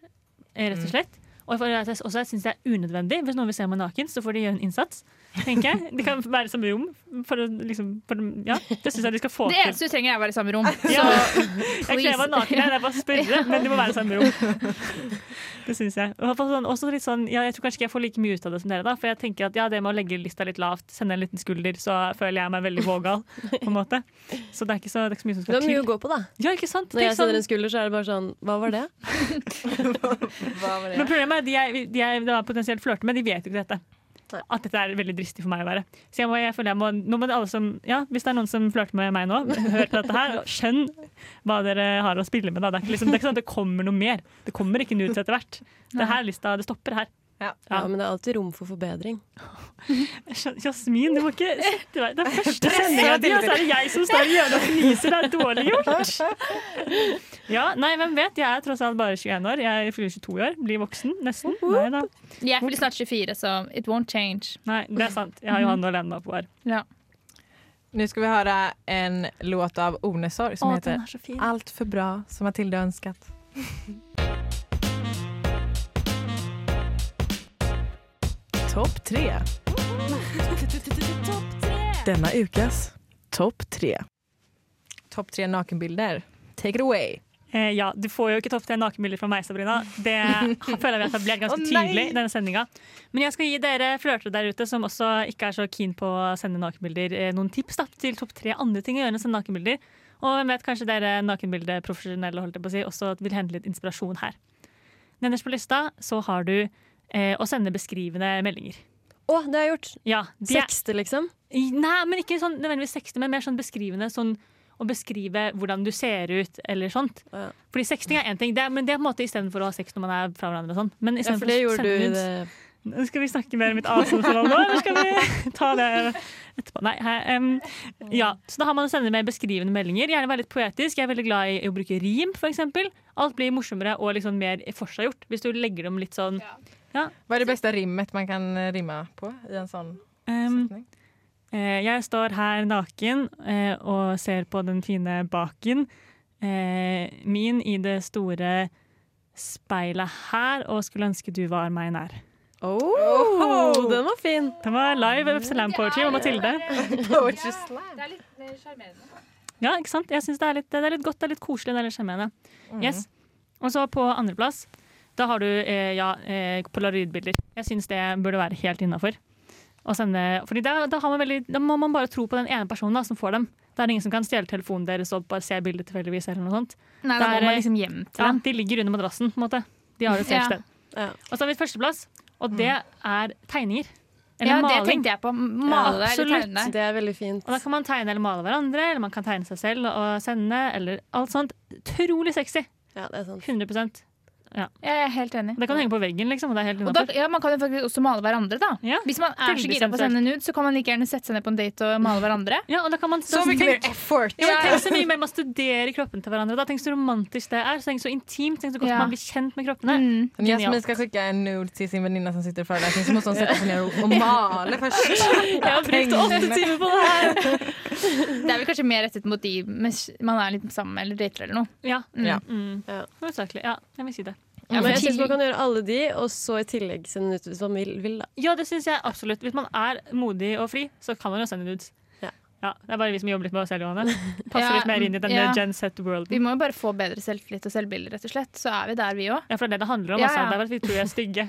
eh, rett og slett. Og for at jeg også syns det er unødvendig. Hvis noen vil se meg naken, så får de gjøre en innsats. tenker jeg. De kan være i samme rom. For å, liksom, for, å- ja, det syns jeg de skal få
Det
til.
eneste du trenger, er å være i samme rom.
[laughs] Ja, jeg krever naken her, det er bare å spørre, men de må være i samme rom. Det syns jeg. Og for sånn, også litt sånn, ja, jeg tror kanskje ikke jeg får like mye ut av det som dere, da, for jeg tenker at ja, det med å legge lista litt lavt, sende en liten skulder, så føler jeg meg veldig vågal, på en måte. Så det er ikke så, det er ikke så mye som
Du har
skal
mye å
til.
gå på, da.
Ja, ikke sant?
Når
Tenk
jeg sender en skulder, så er det bare sånn Hva var det?
Men problemet er at de jeg, de jeg da potensielt flørter med, de vet jo ikke dette. At dette er veldig dristig for meg å være. Så jeg må, jeg føler jeg må, nå må det alle som, ja, Hvis det er noen som flørter med meg nå, [laughs] hør på dette her. Skjønn hva dere har å spille med. Da. Det, er ikke liksom, det er ikke sånn at det kommer noe mer. Det kommer ikke nudes etter hvert. Det her lista, det stopper her.
Ja, men det er alltid rom for forbedring.
Jeg skjønner- Jasmin, du må ikke sette deg Det er første sendinga di, og så er det jeg som står i hjørnet og fniser. Det er dårlig gjort.
[laughs]
Ja, nei, hvem vet. Jeg er tross alt bare 21 år. Jeg fyller 22 i år. Blir voksen, nesten. Nei da.
Jeg blir snart 24, så it won't change.
Nei, det er sant. Jeg har
Mhm.
Johanne å lene meg på her.
Nu ska vi höra en låt av Onesorg som heter
så fin.
Allt för bra som Matilda önskat. [laughs] Topp tre. Denna ukas topp tre. Topp tre nakenbilder. Take it away.
Eh, ja, du får jo ikke topp tre nakenbilder fra meg, Sabrina.
[laughs]
Det føler jeg vi har etablert ganske
Å, nei!
tydelig i denne sendinga. Men jeg skal gi dere flørtere der ute som også ikke er så keen på å sende nakenbilder, eh, noen tips da, til topp tre andre ting å gjøre enn å sende nakenbilder. Og hvem vet, kanskje dere nakenbildeprofesjonelle holdt jeg på å si, også vil hente litt inspirasjon her. Nederst på lista så har du eh, å sende beskrivende meldinger.
Å, det har jeg gjort!
Ja, det er-
Sexte, liksom.
I- Nei, men ikke sånn nødvendigvis sexting, men mer sånn beskrivende. Sånn å beskrive hvordan du ser ut, eller sånt.
Ja.
Fordi sexting er én ting, det er, men det er på en måte istedenfor å ha sex når man er fra hverandre. og sånn. Men i
Ja,
stedet
for
for
det
å
gjorde
sende
du i
nudes-
det
nå Skal vi snakke mer om mitt avstandsforhold nå, eller skal
[laughs]
vi ta det etterpå? Nei, he- em, ja. Så da har man å sende med beskrivende meldinger. Gjerne være litt poetisk. Jeg er veldig glad i å bruke rim, f.eks. Alt blir morsommere og liksom mer forseggjort hvis du legger dem litt sånn
Vad är det bästa rimmet man kan eh, rimma på i en sån
em,
sättning?
Eh, jeg står her naken eh, og ser på den fine baken. Eh, min i det store speilet her, og skulle ønske du var meg nær.
Oh, den var fin!
Det var live Salam Poetry og Mathilde.
Poetry slam.
Det er litt sjarmerende.
Ja, ikke sant? Jeg synes det, er litt, det er litt godt, det er litt koselig, det er litt sjarmerende.
Mhm.
Yes. Og så på andreplass, da har du eh, ja, eh, polaroidbilder. Jeg syns det burde være helt innafor. Fordi da, da, har man veldig, da må man bare tro på den ene personen da, som får dem. Da er det ingen som kan stjele telefonen deres og bare se bildet tilfeldigvis. eller noe sånt.
Nei, da
Der,
må man liksom hjem til
Ja,
dem.
de ligger under madrassen, på en måte. De har et
Ja. Mhm.
safe sted.
Ja.
Og så har vi førsteplass, og det er tegninger. Eller
Ja, det
maling.
tenkte jeg på. Male deg eller
absolutt.
tegne deg.
Det er veldig fint.
Og da kan man tegne eller male hverandre, eller man kan tegne seg selv og sende, eller alt sånt. Utrolig sexy.
Ja, det er sant.
100
Jeg er helt enig.
Det kan henge på veggen, liksom. Og det er helt
Og da,
innenfor.
ja, man kan jo faktisk også male hverandre, da.
Ja,
Hvis man er så
veldig
gira på å
sensuelt.
sende nude, så kan man like gjerne sette seg ned på en date og male hverandre.
ja, og da kan man
Så mycket mer effort.
ja, men Tenk så mye mer man studerer kroppen til hverandre. Da. Tenk så romantisk det er. Så tenk så intimt. Tenk så godt
Ja.
man blir kjent med kroppene.
Mm.
Om Jasmin ska skicka en nude till sin väninna som sitter i föreläsning så måste hon sätta sig ner och- och mala först.
Jeg har brukt åtte timer på det her!
Det er vel kanskje mer rettet mot de mens man er litt sammen eller dater eller noe.
Ja.
Ja.
Mm.
Ja.
Hovedsakelig. Ja, jeg vil si det.
Ja, men jeg
til-
synes man kan gjøre alle de, og så i tillegg sende ut hvis man vil. vil da.
Ja, det syns jeg absolutt. Hvis man er modig og fri, så kan man jo sende nudes.
Ja.
det er bare vi som jobber litt med oss selv,
[laughs]
Johanne. Passer
Ja,
litt mer inn i denne
ja.
Gen Z-worlden.
Vi må jo bare få bedre selvtillit og selvbilde, rett og slett. Så er vi der, vi òg.
Ja, for det er det det handler om.
Ja,
Altså.
ja.
Det er bare at vi tror vi er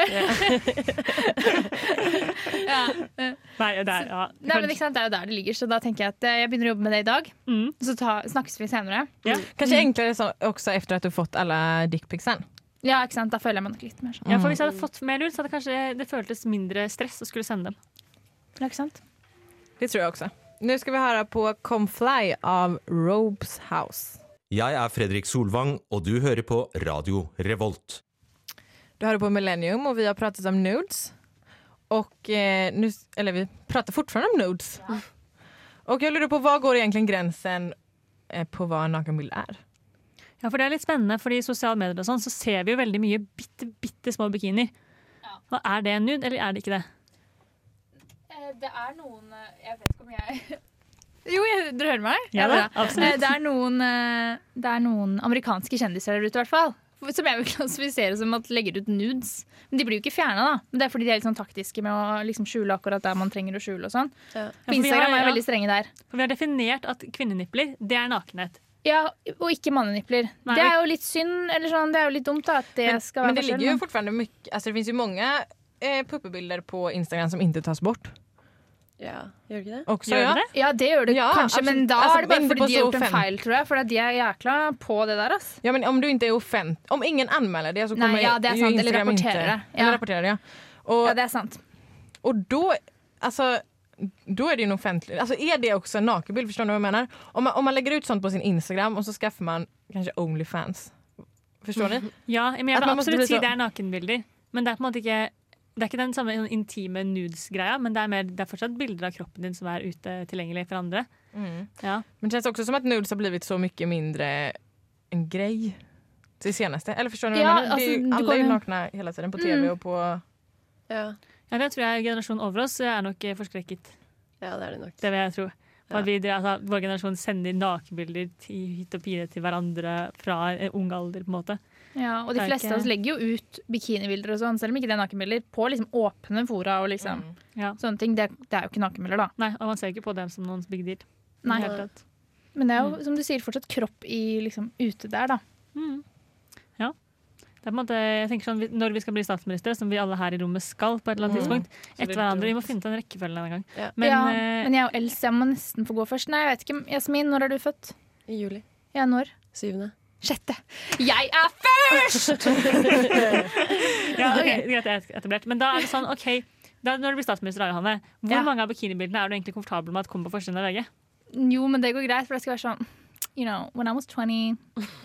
[laughs]
stygge. Nei, det er, ja.
Nei, men ikke sant, Det er jo der det ligger, så da tenker jeg at eh, jeg begynner å jobbe med det i dag.
Mm.
Så ta, snakkes vi senere.
Kanske enklare så också efter att du fått alla dickpicsen.
Ja, ikke sant, Da føler jeg meg nok litt mer sånn.
Ja, for Hvis jeg hadde fått mer ut, så hadde kanskje det føltes mindre stress å skulle sende dem.
Ja, ikke sant?
Det tror jag också. Nu ska vi höra på Come Fly av Robes House.
Jeg er Fredrik Solvang, og du hører på Radio Revolt.
Du hörde på Millennium och vi har pratat om nudes. Och eh, nu, eller vi pratar fortfarande om nudes. Och jag lurar på vad går egentligen gränsen eh, på vad en nakenbild är?
Ja, for Det er litt spennende, fordi i sosiale medier og sånn, så ser vi jo veldig mye bitte, bitte små bikinier. Og Er det en nude, eller er det ikke det?
Eh, Det er noen Jeg vet ikke om jeg [laughs] Jo, jeg, dere hører meg?
Ja
bra.
da, absolutt.
Eh, Det er noen, eh, det er noen amerikanske kjendiser der ute, i hvert fall. som jeg vil [laughs] klassifisere som at legger ut nudes. Men de blir jo ikke fjerna, da. Men det er fordi de er litt sånn taktiske med å liksom skjule akkurat der man trenger å skjule og sånn.
Ja, for vi
På
har-
Instagram er
ja.
jo veldig strenge der.
For vi har definert at kvinnenipler, det er nakenhet.
Ja, og ikke mannenipler.
Nei.
Det er jo litt synd, eller sånn, det er jo litt dumt da, at det
Men,
skal
men
være
det
forskjell.
ligger ju fortfarande mycket, alltså det finns ju många eh, puppebilder på Instagram som inte tas bort.
Ja, gjør det ikke det?
Også,
Gjør
ja.
det?
Ja, det gjør det
Ja,
kanskje,
absolutt.
men da
Altså,
er det bare
bilder på
fordi de har
så
gjort en
fem.
feil, tror jeg. For at de er jækla på det der, ass.
Ja, men om du inte är offent... Om ingen anmäler det så
Nej,
kommer
ja, det är
ju
sant. Eller
Instagram
rapporterar
inte...
det.
Eller
Ja.
rapporterar det, ja. Och,
Ja, det er sant.
och då, alltså, då är det ju en offentlig... Alltså är det också en nakenbild? Förstår ni vad jag menar? Om man, om man lägger ut sånt på sin Instagram och så skaffar man kanske Onlyfans. Förstår
Mm.
ni?
Ja, men
At
jeg vil
man måtte
absolutt
bli
si
så-
det er nakenbilder. Men det er på en måte ikke det er ikke den samme sånn intime nudes-greia, men det er, mer, det er fortsatt bilder av kroppen din som er ute tilgjengelig for andre.
Mm.
Ja.
Men det känns också som att nudes har blivit så mycket mindre en grej till senaste. Eller förstår ni vad
Ja,
jag menar? det är ju,
alltså, du
alla är ju
kommer- Mm.
nakna hela tiden på tv och på...
Ja.
Ja, det tror jeg generasjonen over oss er nok eh, forskrekket.
ja, det er det nok.
Det vil jeg tro. Og
Ja.
At vi, altså, vår generasjon sender nakenbilder i hytt og pine til hverandre fra eh, ung alder, på en måte.
Ja, og
Det
de
er
fleste
ikke-
av oss legger jo ut bikinibilder og sånn, selv om ikke det er nakenbilder, på liksom åpne fora og liksom
Ja.
sånne ting. Det, det er jo ikke nakenbilder, da.
Nei, og man ser jo ikke på dem som noens big deal. i
Nei.
det hele tatt.
Men det er jo, som du sier, fortsatt kropp i liksom ute der, da.
Mm. Ja. Det er på en måte, jeg tenker sånn, vi- Når vi skal bli statsministre, som vi alle her i rommet skal på et
Mm.
eller annet tidspunkt etter hverandre, Vi må finne ut en rekkefølge denne gang.
Ja.
Men,
ja,
eh,
men jeg er jo eldst, så jeg må nesten få gå først. Nei, jeg vet ikke. Jasmin, når er du født?
I juli.
Ja, når?
Syvende.
Sjette. Jeg er først!
[laughs] ja, ok, greit, jeg er etablert. Men da er det sånn, ok, da, når du blir statsminister, da, Johanne, hvor
Ja.
mange av bikinibildene er du egentlig komfortabel med at kommer på forsiden av VG?
Jo, men det går greit, for det skal være sånn You know, when I was [laughs] 20,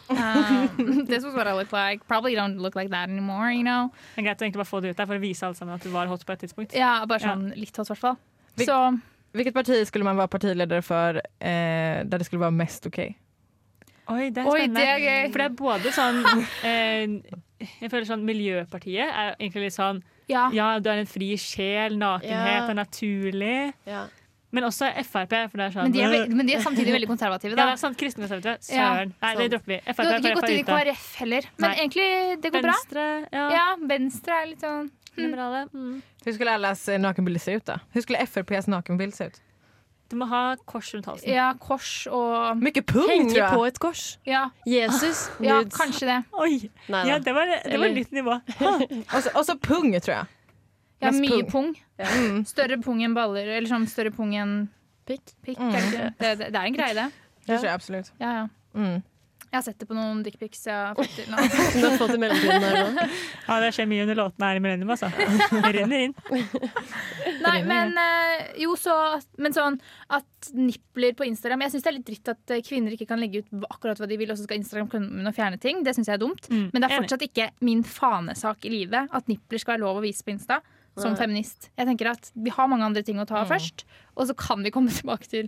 um, this was what I looked like. Probably don't look like that anymore, you know.
Det er greit å egentlig bare få det ut der for å vise alle sammen at du var hot på et tidspunkt.
Ja, bare
Ja.
sånn litt hot, i hvert fall.
Vi-
Så
Vilket parti skulle man vara partiledare för eh, där det skulle vara mest okej?
Oi, det er
Oi,
spennende.
det er gøy.
For det er både sånn [laughs] eh, Jeg føler sånn Miljøpartiet er egentlig litt sånn
ja.
Ja, du er en fri sjel, nakenhet
Ah. Ja.
er naturlig.
Ja.
Men også Frp, for det er sånn
Men de, er, ve- men de er samtidig veldig konservative,
Ja, det
da.
er sant. Kristenkonservative.
Ja,
Søren. Nei, det
sant.
dropper vi.
Du
Frp
hadde ikke
KrF
gått
er
inn i
ute.
KrF heller. Men
Nei.
egentlig, det går bra.
Venstre, ja.
Ja, Venstre er litt sånn
Liberale. Mm.
Hur skulle allas eh, nakenbilder se ut då? Hur skulle FRPs nakenbild se ut?
Du må ha kors rundt halsen.
Ja, kors og
Mycket pung tror
Henge
jag!
på et kors.
Ja,
Jesus,
ja
nudes.
kanskje det.
Oj,
Nei
ja,
da.
det var, det var
Eller-
nytt nivå.
Och, så, och så pung tror jag.
Ja,
Mest
mye
pung.
pung.
Mm.
Større pung enn baller. Eller sånn større pung enn
Pikk.
pikk. er det
Mm.
ikke? Det, det, det er en greie, det.
Det tror jag absolut.
Ja, ja.
Mm.
Jeg har sett det på noen dickpics jeg har fått til nå.
Du har fått i mellomtiden [laughs] her nå.
Ja, det skjer mye under låtene her i Millennium, altså. Det renner inn.
Nei, men eh, jo, så Men sånn at nipler på Instagram Jeg syns det er litt dritt at eh, kvinner ikke kan legge ut hva- akkurat hva de vil, og så skal Instagram kunne og fjerne ting. Det syns jeg er dumt.
Mm,
Men det er
enig.
fortsatt ikke min fanesak i livet at nipler skal være lov å vise på Insta. Som
Nei.
feminist. Jeg tenker at Vi har mange andre ting å ta først, og så kan vi komme [laughs] tilbake til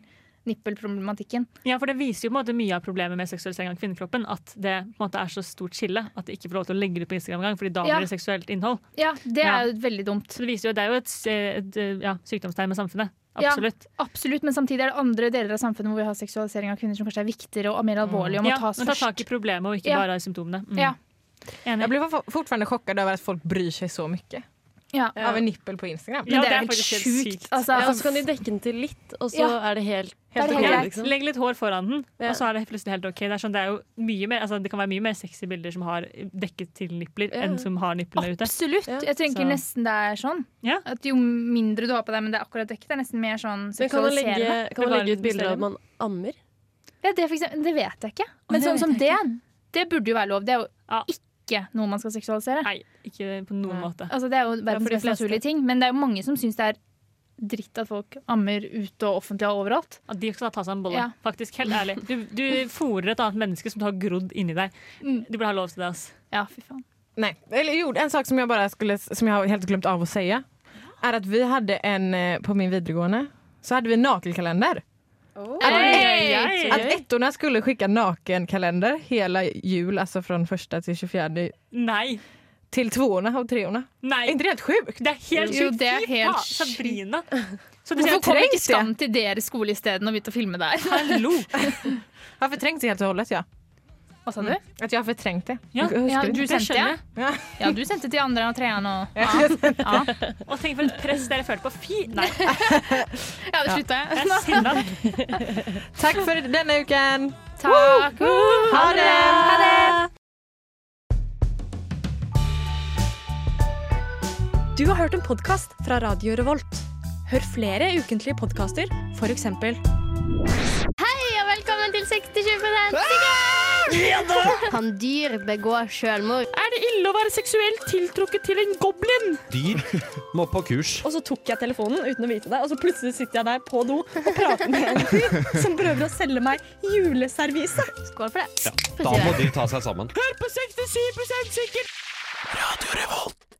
nippelproblematikken.
Ja, for det viser jo på en måte mye av problemet med seksualisering av kvinnekroppen. At det på en måte er så stort skille at det ikke får lov til å legge det ut på Instagram engang, fordi da
Ja.
blir det seksuelt innhold.
Ja, Det
Ja.
er jo veldig dumt.
Så det viser jo, det er jo et, s- et ja, sykdomstegn med samfunnet.
Ja.
Absolutt.
Absolutt, Men samtidig er det andre deler av samfunnet hvor vi har seksualisering av kvinner som kanskje er viktigere og mer alvorlig og
Mm.
må
Ja,
tas
men ta tak i
først.
problemet og ikke
Ja.
bare symptomene. Mm.
Ja.
Jag
Enig.
blir for- fortfarande chockad över att folk bryr sig så mycket.
Ja. Altså,
Av en nippel på Instagram.
Ja,
Men det
det
er
er
helt
faktisk helt
sjukt.
sykt.
Altså,
Ja, og så kan de dekke den til litt, og så
Ja.
er sånn- det helt,
Det er helt
ok,
greit.
liksom.
Legg litt hår foran den,
Ja.
og så er det plutselig helt OK. Det, er sånn, det, er jo mye mer, altså, det kan være mye mer sexy bilder som har dekket til nipler,
Ja.
enn som har niplene ute.
absolutt.
Ja.
Jeg tenker
Så-
nesten det er sånn.
Ja.
At jo mindre du har på deg, men det er akkurat dekket, det er nesten mer sånn
Men kan man legge,
seksualiserende.
kan man
Bevare
legge ut bilder av at man
mysteriet.
ammer?
Ja, det, for eksempel, det vet jeg ikke. Men
det vet
sånn som
jeg
det, det burde jo være lov. Det er jo
Ja.
ikke noe man skal seksualisere.
Nei, ikke på noen måte.
Altså, det er jo
for
verdens
de
mest
fleste.
naturlige ting. Men det er jo mange som syns det er dritt at folk ammer ute og offentlig og overalt.
At de skal ta seg en bolle.
Ja.
Faktisk, helt ærlig. Du, du fôrer et annet menneske som du har grodd inni deg.
Mm.
Du burde ha lov til det. ass.
Ja, fy faen.
Nej, eller jo, en sak som jag, bara skulle, som jag har helt glömt av att säga är att vi hade en, eh, på min videregående, så hade vi en nakelkalender.
Hey!
Att ettorna skulle skicka nakenkalender hela jul, alltså från första till 24
Nei!
till tvåorna och treorna.
Nei!
Är inte det helt sjukt?
Det er helt
Jo,
sjukt!
det er
Fy
helt
faen, Sabrina! Så du
Hvorfor
sier
kom
trengt
ikke
det?
Skam til deres skole isteden og begynte å filme der?
hallo!
Har förträngt sig helt och hållet ja.
Hva sa du?
At jeg har fortrengt det.
Ja,
Jeg husker
ja,
det.
du sendte
skjønner
ja. ja, du sendte til andre og treeren og
Ja, [laughs]
ja.
jeg sendte.
Ja.
Og tenk for et press dere følte på. Fy! Nei,
ja, det slutta
jeg
[laughs] jeg.
er sinna.
Takk for denne uken!
Takk.
Ha det!
Ha det!
Du har hørt en podkast fra Radio Revolt. Hør flere ukentlige podkaster, f.eks.
Hei og velkommen til 60-20 sikkert! Kan dyr begå selvmord? Er det ille å være seksuelt tiltrukket til en goblin?
[laughs]
Dyr må på kurs.
Og så tok jeg telefonen uten å vite det, og så plutselig sitter jeg der på do og prater med en fyr som prøver å selge meg juleservise. Skål for det.
Da må de ta seg sammen.
Hør på 67 sikkert! Radio Revolt.